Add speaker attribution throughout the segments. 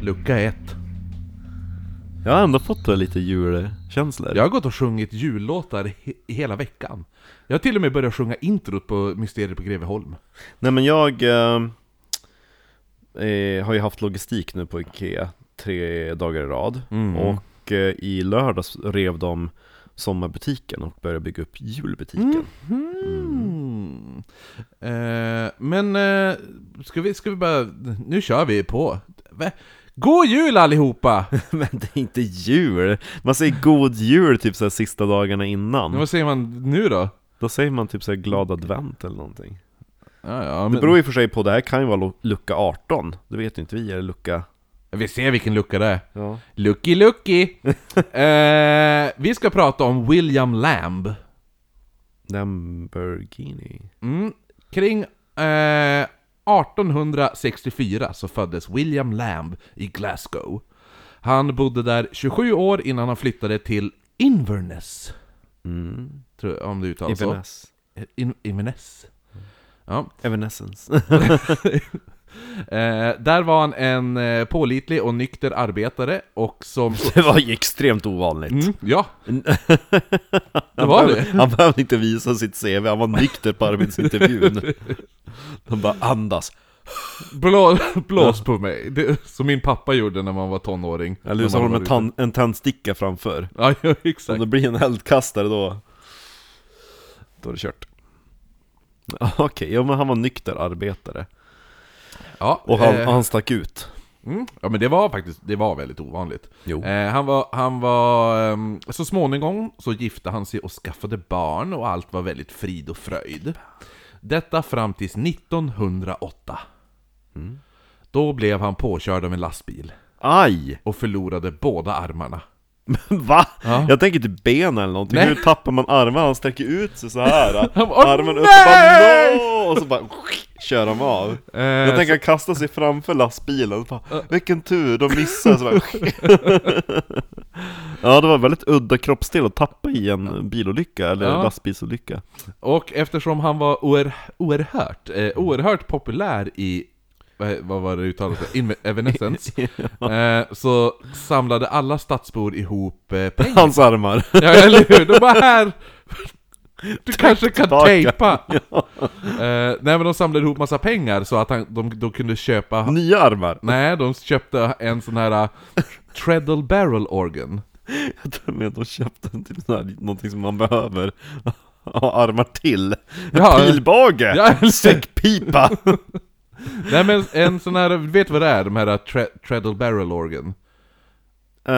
Speaker 1: Lucka 1.
Speaker 2: Jag har ändå fått det lite julkänslor.
Speaker 1: Jag har gått och sjungit jullåtar he- hela veckan. Jag har till och med börjat sjunga introt på Mysteriet på Greveholm.
Speaker 2: Nej men jag eh, eh, har ju haft logistik nu på Ikea tre dagar i rad.
Speaker 1: Mm.
Speaker 2: Och eh, i lördags rev de sommarbutiken och började bygga upp julbutiken.
Speaker 1: Mm. Eh, men eh, ska, vi, ska vi bara... Nu kör vi på. Va? God jul allihopa!
Speaker 2: men det är inte jul! Man säger god jul typ så här sista dagarna innan.
Speaker 1: Men Vad säger man nu då?
Speaker 2: Då säger man typ så här glad advent eller någonting.
Speaker 1: Ja, ja,
Speaker 2: Det
Speaker 1: men,
Speaker 2: beror i och för sig på, det här kan ju vara lu- lucka 18. Det vet ju inte vi, är det lucka...
Speaker 1: Vi ser vilken lucka det är.
Speaker 2: Ja.
Speaker 1: Lucky Lucky! eh, vi ska prata om William Lamb.
Speaker 2: Lamborghini.
Speaker 1: Mm. Kring eh, 1864 så föddes William Lamb i Glasgow. Han bodde där 27 år innan han flyttade till Inverness.
Speaker 2: Mm.
Speaker 1: Tror jag, om du uttalar så.
Speaker 2: Evanes-
Speaker 1: In- Inverness. Ja.
Speaker 2: Evanescence.
Speaker 1: Eh, där var han en eh, pålitlig och nykter arbetare och som...
Speaker 2: Det var ju extremt ovanligt.
Speaker 1: Mm, ja, det
Speaker 2: Han
Speaker 1: var
Speaker 2: behövde-
Speaker 1: det.
Speaker 2: Han behövde inte visa sitt CV, han var nykter på arbetsintervjun. De bara andas.
Speaker 1: Blå, blås på mig. Det, som min pappa gjorde när man var tonåring.
Speaker 2: Eller så
Speaker 1: När
Speaker 2: har
Speaker 1: man
Speaker 2: de
Speaker 1: var
Speaker 2: en, tan- en tändsticka framför.
Speaker 1: ute. Ja, ja,
Speaker 2: Om
Speaker 1: exakt.
Speaker 2: det blir en eldkastare då... Då är det kört. Ja, Okej, ja men han var nykter arbetare.
Speaker 1: Ja,
Speaker 2: Och han,
Speaker 1: eh,
Speaker 2: han stack ut.
Speaker 1: Mm. Ja men det var faktiskt, det var väldigt ovanligt.
Speaker 2: Jo.
Speaker 1: Eh, han var, han var, ehm, så småningom så gifte han sig och skaffade barn och allt var väldigt frid och fröjd. Detta fram tills 1908.
Speaker 2: Mm.
Speaker 1: Då blev han påkörd av en lastbil
Speaker 2: Aj!
Speaker 1: och förlorade båda armarna.
Speaker 2: Va?
Speaker 1: Ja.
Speaker 2: Jag tänker typ ben eller någonting,
Speaker 1: Nej.
Speaker 2: hur tappar man armarna? Han sträcker ut sig så här.
Speaker 1: Han bara,
Speaker 2: armen upp och bara
Speaker 1: "Nej!"
Speaker 2: "Nå!" Och så bara kör de av.
Speaker 1: Eh,
Speaker 2: Jag tänker att kasta sig framför lastbilen, bara, vilken tur, de missar så bara, Ja det var väldigt udda kroppsdel att tappa i en bilolycka, eller
Speaker 1: Ja.
Speaker 2: lastbilsolycka
Speaker 1: Och eftersom han var oer, oerhört, eh, oerhört populär i, vad, vad var det uttalat? In- Evanescence. eh, så samlade alla stadsbor ihop eh, pengar.
Speaker 2: Hans armar!
Speaker 1: Ja, eller hur? De bara här! Du kanske kan
Speaker 2: tillbaka.
Speaker 1: tejpa! Eh, nej men de samlade ihop massa pengar så att han, de då kunde köpa...
Speaker 2: Nya armar!
Speaker 1: Nej, de köpte en sån här eh, Treadle Barrel Organ.
Speaker 2: Jag tror med att de köpte en typ sån här, någonting som man behöver ha armar till
Speaker 1: Ja.
Speaker 2: Pilbåge!
Speaker 1: Ja, eller-
Speaker 2: Säckpipa!
Speaker 1: Nej men en sån här, vet du vad det är? De här eh, tre- Treadle Barrel Organ.
Speaker 2: Ehm,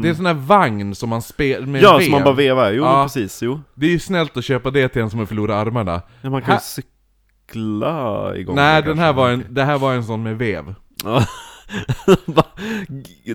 Speaker 1: Det är en sån här vagn som man spelar med
Speaker 2: ja,
Speaker 1: vev.
Speaker 2: som man bara vevar, jo
Speaker 1: Ja.
Speaker 2: precis, jo
Speaker 1: Det är ju snällt att köpa det till en som har förlorat armarna.
Speaker 2: ja, Man kan ju
Speaker 1: Här-
Speaker 2: cykla igång
Speaker 1: Nej,
Speaker 2: det
Speaker 1: den
Speaker 2: kanske.
Speaker 1: här var en, det här var en sån med vev.
Speaker 2: Ja. De bara-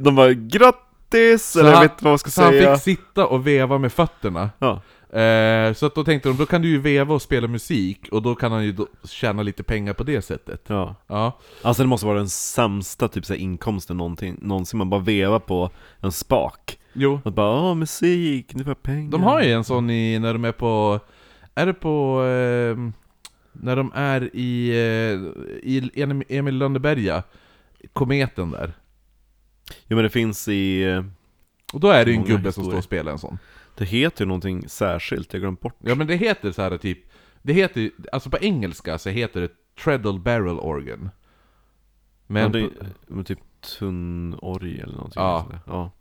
Speaker 2: De bara 'Grattis!' eller jag
Speaker 1: han-
Speaker 2: vet inte vad man ska
Speaker 1: Så han
Speaker 2: säga
Speaker 1: fick sitta och veva med fötterna.
Speaker 2: ja.
Speaker 1: Eh, så att då tänkte de, då kan du ju veva och spela musik, och då kan han ju då tjäna lite pengar på det sättet.
Speaker 2: ja.
Speaker 1: Ja,
Speaker 2: Alltså det måste vara den sämsta typ, så här, inkomsten någonting, någonsin, man bara vevar på en spak
Speaker 1: jo.
Speaker 2: och bara 'Åh musik, nu får jag pengar'
Speaker 1: De har ju en sån i, när de är på, är det på, ehm, när de är i, eh, i Em- Emil i Lönneberga, kometen där.
Speaker 2: Jo men det finns i,
Speaker 1: Och då är det ju en
Speaker 2: Många
Speaker 1: gubbe som
Speaker 2: historier.
Speaker 1: står och spelar en sån.
Speaker 2: det heter ju någonting särskilt, jag glömde bort
Speaker 1: Ja men det heter så här typ, det heter ju- alltså på engelska så heter det Treadle Barrel Organ. Men,
Speaker 2: men det
Speaker 1: på-
Speaker 2: är men typ tunnorg eller någonting
Speaker 1: Ja.
Speaker 2: sånt där. ja.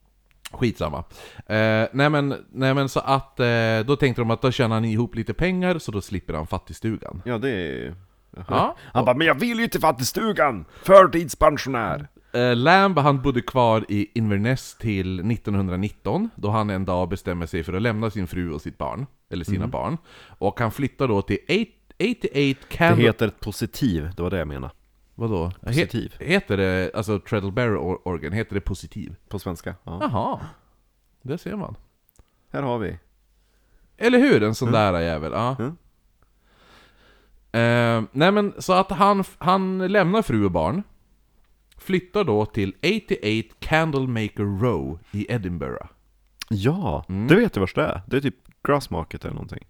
Speaker 1: Skitsamma. Eh, nej, men, nej men så att eh, då tänkte de att då tjänar han ihop lite pengar så då slipper han fattigstugan.
Speaker 2: ja det är Jaha.
Speaker 1: Ja.
Speaker 2: Han bara 'Men jag vill ju till fattigstugan! Förtidspensionär!'
Speaker 1: Eh, Lamb han bodde kvar i Inverness till 1919 då han en dag bestämmer sig för att lämna sin fru och sitt barn. Eller sina barn. Och han flyttar då till 88
Speaker 2: Det
Speaker 1: Candle...
Speaker 2: heter ett positiv, det var det jag menade
Speaker 1: Vadå? He-
Speaker 2: Positiv.
Speaker 1: heter det, alltså Treadle Barrel Or- Organ, heter det positiv?
Speaker 2: på svenska ja.
Speaker 1: Jaha. Det ser man.
Speaker 2: Här har vi.
Speaker 1: Eller hur? En sån där jävel, ja.
Speaker 2: Mm.
Speaker 1: Eh, nej men så att han, han lämnar fru och barn Flyttar då till 88 Candlemaker Row i Edinburgh.
Speaker 2: Ja, det vet du vart det är. Det är typ Grassmarket eller någonting.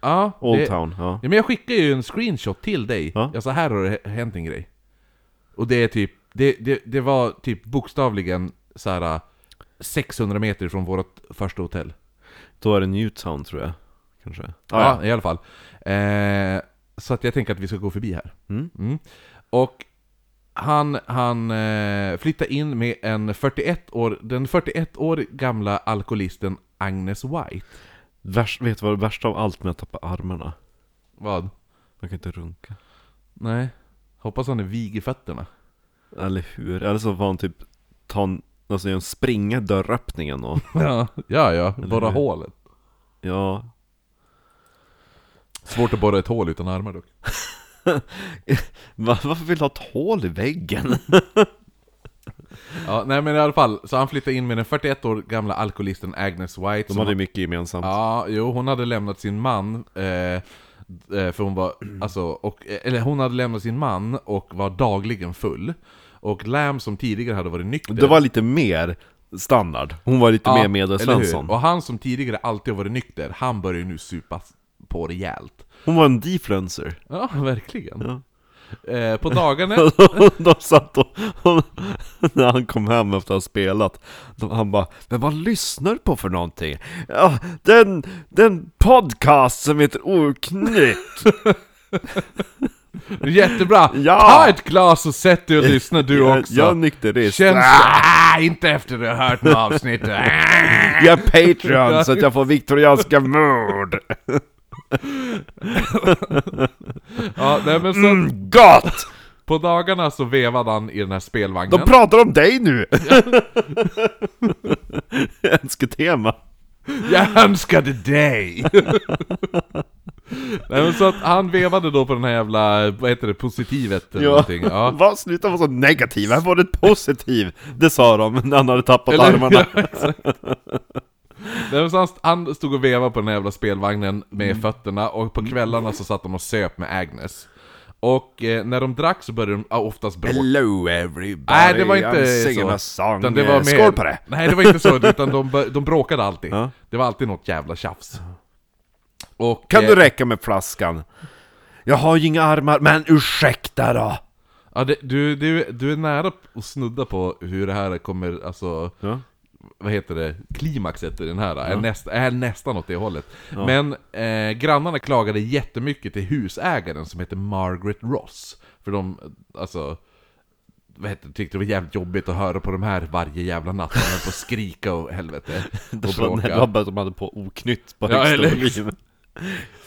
Speaker 1: Ja,
Speaker 2: Old
Speaker 1: det,
Speaker 2: Town, ja.
Speaker 1: Ja, men jag skickade ju en screenshot till dig.
Speaker 2: Ja.
Speaker 1: Jag sa här har det hänt en grej. Och det är typ, det, det, det var typ bokstavligen så här 600 meter från vårt första hotell.
Speaker 2: Då är det Newtown tror jag, kanske. Ah,
Speaker 1: ja. i alla fall. Eh, så att jag tänker att vi ska gå förbi här.
Speaker 2: Mm.
Speaker 1: Och han, han eh, flyttade in med en 41 år, den 41 år gamla alkoholisten Agnes White.
Speaker 2: Värst, vet du vad det värsta av allt med att tappa armarna?
Speaker 1: Vad?
Speaker 2: Man kan inte runka.
Speaker 1: Nej. Hoppas han är vig i fötterna.
Speaker 2: Eller hur? Eller så får han typ ta en, alltså göra en springa i dörröppningen och,
Speaker 1: Ja, ja, ja.
Speaker 2: Eller
Speaker 1: borra
Speaker 2: hur?
Speaker 1: hålet.
Speaker 2: ja.
Speaker 1: Svårt att borra ett hål utan armar dock.
Speaker 2: Va- varför vill du ha ett hål i väggen?
Speaker 1: Ja, nej men i alla fall, så han flyttade in med den 41 år gamla alkoholisten Agnes White.
Speaker 2: De
Speaker 1: som-
Speaker 2: hade ju mycket gemensamt.
Speaker 1: Ja, jo, hon hade lämnat sin man, eh, eh, för hon var,
Speaker 2: Mm.
Speaker 1: alltså, och, eller hon hade lämnat sin man och var dagligen full. Och Lam som tidigare hade varit nykter.
Speaker 2: Det var lite mer standard. Hon var lite
Speaker 1: Ja,
Speaker 2: mer
Speaker 1: eller hur?
Speaker 2: Medelsvensson.
Speaker 1: Och han som tidigare alltid varit nykter, han börjar ju nu supa på rejält.
Speaker 2: Hon var en defluencer.
Speaker 1: Ja, verkligen. Eh, på dagarna...
Speaker 2: de satt och, när han kom hem efter att ha spelat, de, han bara ”Men vad lyssnar du på för någonting?” ”Ja, den, den podcast som heter Oknytt”
Speaker 1: Jättebra!
Speaker 2: Ja.
Speaker 1: Ta ett glas och sätt dig och lyssna du också!
Speaker 2: Jag är nykterist,
Speaker 1: Känns ah, inte efter du har hört något avsnitt. Ah.
Speaker 2: jag är Patreon så att jag får viktorianska mord!
Speaker 1: ja, nej, men så
Speaker 2: Mm, gott!
Speaker 1: På dagarna så vevade han i den här spelvagnen.
Speaker 2: De pratar om dig nu! Önsketema!
Speaker 1: Jag önskade dig! nej, men så att han vevade då på den här jävla, vad heter det, positivet eller
Speaker 2: Ja.
Speaker 1: någonting. Ja.
Speaker 2: Va, sluta vara så negativ, här var det positiv! Det sa de när han hade tappat armarna.
Speaker 1: Ja, exakt. Nej, men så han, han stod och vevade på den här jävla spelvagnen med
Speaker 2: Mm.
Speaker 1: fötterna och på kvällarna så satt de och söp med Agnes. Och eh, när de drack så började de ah, oftast bråka.
Speaker 2: Hello everybody,
Speaker 1: Nej, det var inte
Speaker 2: I'm
Speaker 1: så.
Speaker 2: singing a song.
Speaker 1: Utan det var mer,
Speaker 2: Eh, Skål på det!
Speaker 1: Nej, det var inte så, utan de, bör- de bråkade alltid.
Speaker 2: Ja.
Speaker 1: Det var alltid något jävla tjafs. Och,
Speaker 2: Kan
Speaker 1: eh,
Speaker 2: du räcka med flaskan? Jag har ju inga armar, men ursäkta då!
Speaker 1: ja, det, du, du, du är nära att snudda på hur det här kommer, alltså...
Speaker 2: Ja.
Speaker 1: Vad heter det? Klimaxet i den här är, näst, är nästan åt det hållet. Men eh, grannarna klagade jättemycket till husägaren som heter Margaret Ross. För de, alltså... Vad heter, det, tyckte det var jävligt jobbigt att höra på de här varje jävla natt. De höll på att skrika och helvete. Och
Speaker 2: Det var när
Speaker 1: bråka.
Speaker 2: Robert de hade på oknytt på
Speaker 1: Ja,
Speaker 2: högsta
Speaker 1: eller-
Speaker 2: volym.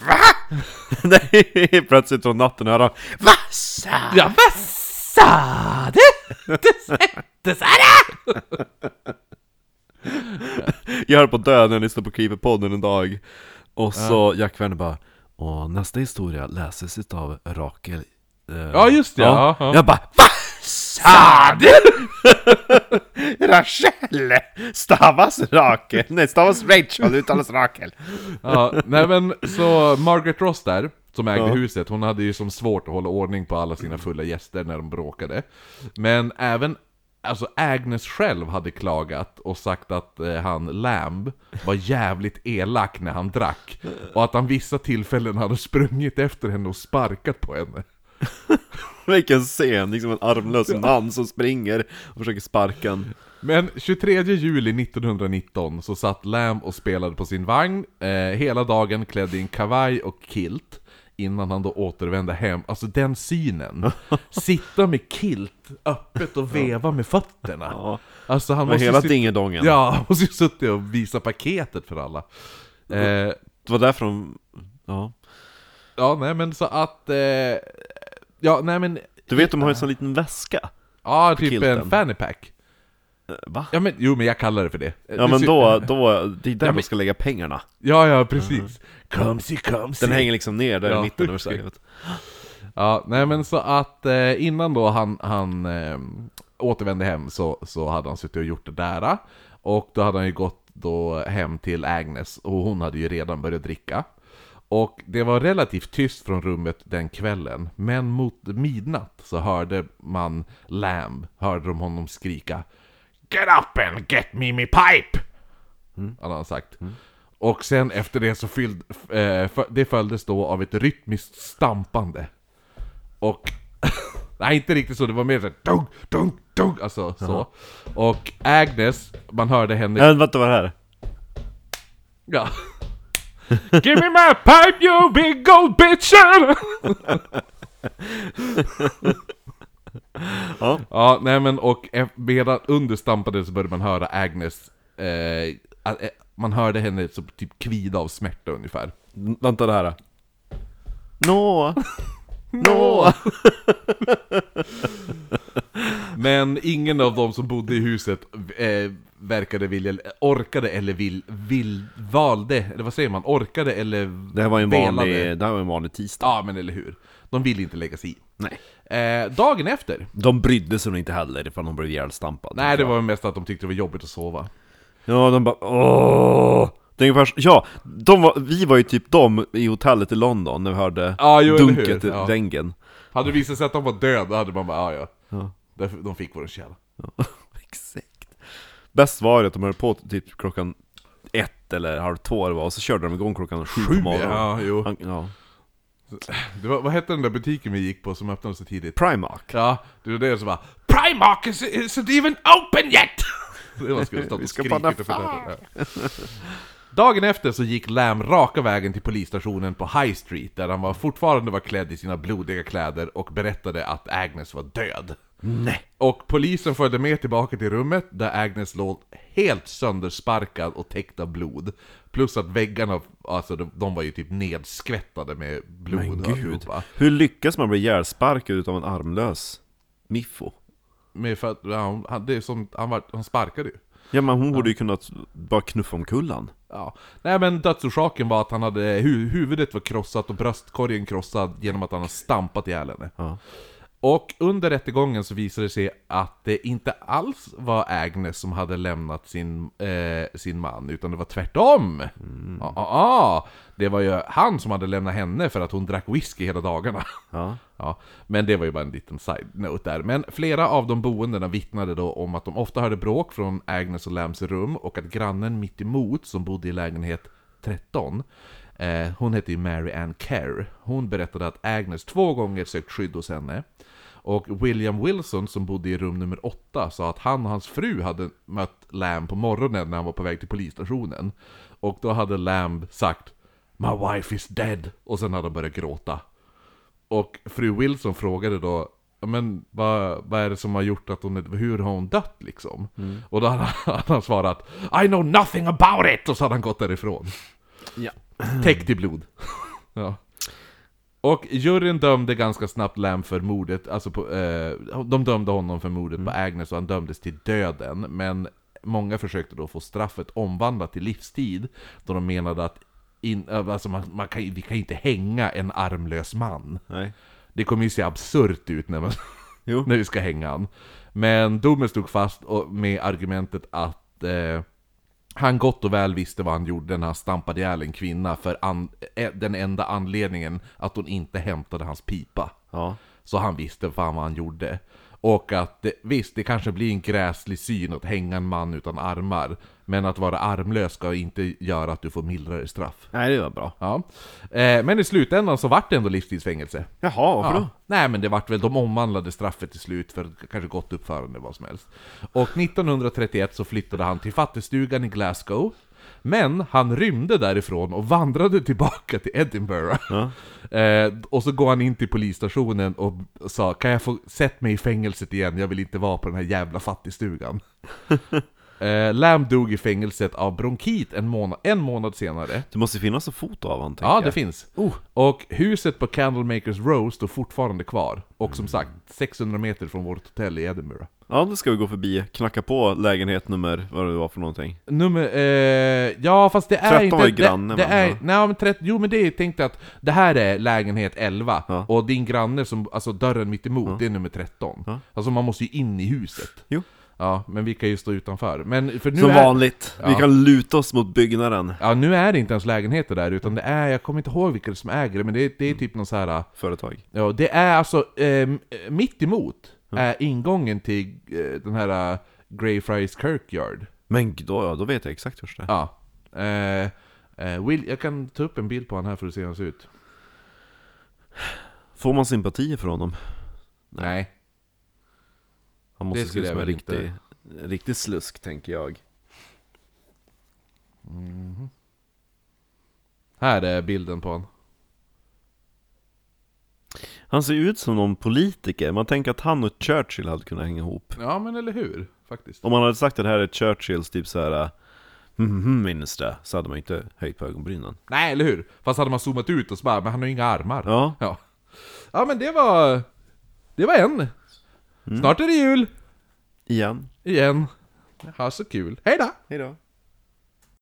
Speaker 2: Va? Nej, plötsligt från natten hör han Va? sa?"
Speaker 1: Ja, vad sa du? Du sa det!
Speaker 2: Jag höll på att dö när jag lyssnade på Creeper-podden en dag. Och så Jack Werner bara Åh, nästa historia läses utav Rakel. eh,
Speaker 1: Ja, just det, ja, ja.
Speaker 2: Jag bara Va? Sa du? Rachel! Stavas Rakel. Nej, stavas Rachel, uttalas Rakel.
Speaker 1: Ja, nej men så Margaret Ross där, som ägde huset, hon hade ju som svårt att hålla ordning på alla sina fulla gäster när de bråkade. Men även Alltså Agnes själv hade klagat och sagt att eh, han Lamb var jävligt elak när han drack Och att han vissa tillfällen hade sprungit efter henne och sparkat på henne
Speaker 2: Vilken scen, liksom en armlös man som springer och försöker sparka en.
Speaker 1: Men 23 juli 1919 så satt Lamb och spelade på sin vagn eh, hela dagen klädd i en kavaj och kilt innan han då återvände hem. Alltså den synen. Sitta med kilt öppet och veva med fötterna.
Speaker 2: Ja.
Speaker 1: Alltså han
Speaker 2: Med
Speaker 1: måste ju
Speaker 2: hela
Speaker 1: sit-
Speaker 2: dingedongen.
Speaker 1: Ja, han måste ju suttit och visa paketet för alla. Eh,
Speaker 2: Det var därför de... Ja.
Speaker 1: ja, nej men så att... Eh, ja, nej men...
Speaker 2: Du vet de har ju en sån liten väska.
Speaker 1: Ja, typ en
Speaker 2: kilten.
Speaker 1: fanny pack.
Speaker 2: Eh, Va?
Speaker 1: Ja, men, jo, men jag kallar det för det.
Speaker 2: Ja typ. men då, då, det är där
Speaker 1: Ja, men-
Speaker 2: man ska lägga pengarna.
Speaker 1: Ja, ja, precis. Kumsi, kumsi.
Speaker 2: Mm. Den hänger liksom ner där
Speaker 1: Ja,
Speaker 2: i mitten över
Speaker 1: exakt.
Speaker 2: skrevet.
Speaker 1: Ja, nej men så att eh, innan då han, han eh, återvände hem så, så hade han suttit och gjort det där. Och då hade han ju gått då hem till Agnes och hon hade ju redan börjat dricka. Och det var relativt tyst från rummet den kvällen, men mot midnatt så hörde man Lamb, hörde de honom skrika Get up and get me me pipe! Hade han sagt. Och sen efter det så fylld, eh, fö- det följdes då av ett rytmiskt stampande. Och... Nej, inte riktigt så, det var mer såhär dunk, dunk, dunk, alltså så. Och Agnes, man hörde henne...
Speaker 2: Äh, vänta, vad är det här?
Speaker 1: Ja. Give me my pipe you big old bitcher!
Speaker 2: Ja.
Speaker 1: ja, nej men och e- medan under stampade så började man höra Agnes, eh, a- eh, man hörde henne så typ kvida av smärta ungefär.
Speaker 2: Vänta det här Nå, nå
Speaker 1: Nå. Men ingen av de som bodde i huset eh, verkade vilja, orkade eller vill, vill, valde, eller vad säger man, orkade eller
Speaker 2: Det här var ju en
Speaker 1: velade.
Speaker 2: vanlig, det här var en vanlig tisdag
Speaker 1: Ja, men eller hur. De ville inte lägga sig i.
Speaker 2: Nej
Speaker 1: Eh, dagen efter.
Speaker 2: De brydde sig nog inte heller ifall de blev ihjälstampade
Speaker 1: Nej, det var mest att de tyckte det var jobbigt att sova.
Speaker 2: Ja, de bara åh Det är ungefär, ja, de var, vi var ju typ de i hotellet i London när vi hörde
Speaker 1: Ja, jo, eller hur?
Speaker 2: dunket i
Speaker 1: Ja.
Speaker 2: rängen
Speaker 1: Hade det visat sig att de var döda hade man bara, "Ah, ja ja.
Speaker 2: Ja.
Speaker 1: Därför- De fick vår tjäna.
Speaker 2: Exakt Bäst var det att de höll på typ klockan ett eller halv två eller vad, och så körde de igång klockan sju, på morgonen
Speaker 1: Ja, jo.
Speaker 2: Han, ja.
Speaker 1: Det var, vad hette den där butiken vi gick på som öppnade så tidigt?
Speaker 2: Primark
Speaker 1: Ja, det var det som var Primark is, isn't even open yet! Det var skulle stått
Speaker 2: Vi
Speaker 1: och
Speaker 2: ska
Speaker 1: skrikit
Speaker 2: bara
Speaker 1: och fördärvat. Ja. Dagen efter så gick Lam raka vägen till polisstationen på High Street där han var, fortfarande var klädd i sina blodiga kläder och berättade att Agnes var död.
Speaker 2: Nej
Speaker 1: Och polisen följde med tillbaka till rummet där Agnes låg helt söndersparkad och täckt av blod. Plus att väggarna, alltså de, de var ju typ nedskvättade med blod
Speaker 2: Men
Speaker 1: och
Speaker 2: gud,
Speaker 1: alltihopa.
Speaker 2: hur lyckas man bli ihjälsparkad utav en armlös miffo?
Speaker 1: Men för att, ja, hon- han, det är som, han, var, han sparkade ju.
Speaker 2: Ja men hon borde ju kunnat bara knuffa omkull han.
Speaker 1: Ja. Nej men dödsorsaken var att han hade, hu, huvudet var krossat och bröstkorgen krossad genom att han har stampat ihjäl henne.
Speaker 2: Ja.
Speaker 1: Och under rättegången så visade det sig att det inte alls var Agnes som hade lämnat sin, eh, sin man, utan det var tvärtom! Ja, ja, ja. Det var ju han som hade lämnat henne för att hon drack whisky hela dagarna.
Speaker 2: Ja.
Speaker 1: Ja, men det var ju bara en liten side-note där. Men flera av de boendena vittnade då om att de ofta hörde bråk från Agnes och Lambs rum och att grannen mitt emot som bodde i lägenhet 13, eh, hon hette ju Mary Ann Kerr, hon berättade att Agnes två gånger sökt skydd hos henne. Och William Wilson som bodde i rum nummer 8 sa att han och hans fru hade mött Lamb på morgonen när han var på väg till polisstationen. Och då hade Lamb sagt ”My wife is dead” och sen hade han börjat gråta. Och fru Wilson frågade då "Ja, men vad, vad är det som har gjort att hon är, hur har hon dött liksom? Och då hade han, hade han svarat I know nothing about it! Och så hade han gått därifrån.
Speaker 2: Ja.
Speaker 1: Täckt i blod. ja. Och juryn dömde ganska snabbt Lam för mordet, alltså på, eh, de dömde honom för mordet på Agnes och han dömdes till döden. Men många försökte då få straffet omvandlat till livstid, då de menade att in, eh, alltså man, man kan, ju- vi kan ju inte hänga en armlös man.
Speaker 2: Nej.
Speaker 1: Det kommer ju se absurt ut när, man,
Speaker 2: Jo.
Speaker 1: när vi ska hänga han. Men domen stod fast och med argumentet att eh, han gott och väl visste vad han gjorde när han stampade ihjäl en kvinna för an, eh, den enda anledningen att hon inte hämtade hans pipa.
Speaker 2: Ja.
Speaker 1: Så han visste fan vad han gjorde. Och att eh, visst, det kanske blir en gräslig syn att hänga en man utan armar. Men att vara armlös ska inte göra att du får mildare straff.
Speaker 2: Nej det var bra.
Speaker 1: Ja. Eh, men i slutändan så vart det ändå livstidsfängelse.
Speaker 2: Jaha, varför
Speaker 1: Ja.
Speaker 2: då?
Speaker 1: Nej men det vart väl, de omvandlade straffet till slut för kanske gott uppförande vad som helst. Och 1931 så flyttade han till fattigstugan i Glasgow. Men han rymde därifrån och vandrade tillbaka till Edinburgh. Eh, och så går han in till polisstationen och sa Kan jag få sätt mig i fängelset igen? Jag vill inte vara på den här jävla fattigstugan. eh, Lam dog i fängelset av bronkit en månad, en månad senare.
Speaker 2: Det måste ju finnas en foto av han tänker
Speaker 1: Ja, det
Speaker 2: jag.
Speaker 1: finns. Och huset på Candlemakers Row står fortfarande kvar. Och som sagt, 600 meter från vårt hotell i Edinburgh.
Speaker 2: Ja, då ska vi gå förbi, knacka på lägenhet nummer, vad det var för någonting.
Speaker 1: Nummer, eh, ja fast det är
Speaker 2: 13
Speaker 1: inte...
Speaker 2: var ju
Speaker 1: det-
Speaker 2: granne,
Speaker 1: det
Speaker 2: men,
Speaker 1: är,
Speaker 2: ja.
Speaker 1: nej, men 30, Jo men det är tänkt att det här är lägenhet 11,
Speaker 2: Ja.
Speaker 1: och din granne som, alltså dörren mitt emot, det är nummer 13.
Speaker 2: Ja.
Speaker 1: Alltså man måste ju in i huset.
Speaker 2: Jo.
Speaker 1: Ja, men vi kan ju stå utanför. Men för nu
Speaker 2: Som
Speaker 1: är...
Speaker 2: vanligt, vi
Speaker 1: Ja.
Speaker 2: kan luta oss mot byggnaden
Speaker 1: Ja, nu är det inte ens lägenheter där, utan det är, jag kommer inte ihåg vilka som äger det, men det är, det är typ någon så här...
Speaker 2: Företag
Speaker 1: Ja, det är alltså eh, mitt emot är ingången till eh, den här eh, Greyfriars Kirkyard.
Speaker 2: Men då, ja, då vet jag exakt hur det är
Speaker 1: Ja. Eh, eh, Will, jag kan ta upp en bild på honom här för att se hur han ser ut.
Speaker 2: Får man sympati från dem?
Speaker 1: Nej.
Speaker 2: Han måste
Speaker 1: Det skulle
Speaker 2: se ut som
Speaker 1: jag
Speaker 2: en
Speaker 1: väl
Speaker 2: riktig, riktig slusk tänker jag
Speaker 1: Här är bilden på honom.
Speaker 2: Han ser ut som någon politiker, man tänker att han och Churchill hade kunnat hänga ihop
Speaker 1: Ja, men eller hur? Faktiskt.
Speaker 2: Om man hade sagt att det här är Churchills typ såhär mm minister, så hade man ju inte höjt på ögonbrynen
Speaker 1: Nej, eller hur? Fast hade man zoomat ut och så bara, men han har ju inga armar.
Speaker 2: Ja,
Speaker 1: Ja, ja men det var... Det var en. Snart är det jul!
Speaker 2: igen
Speaker 1: Igen. Ha så kul. Hej då!
Speaker 2: Hejdå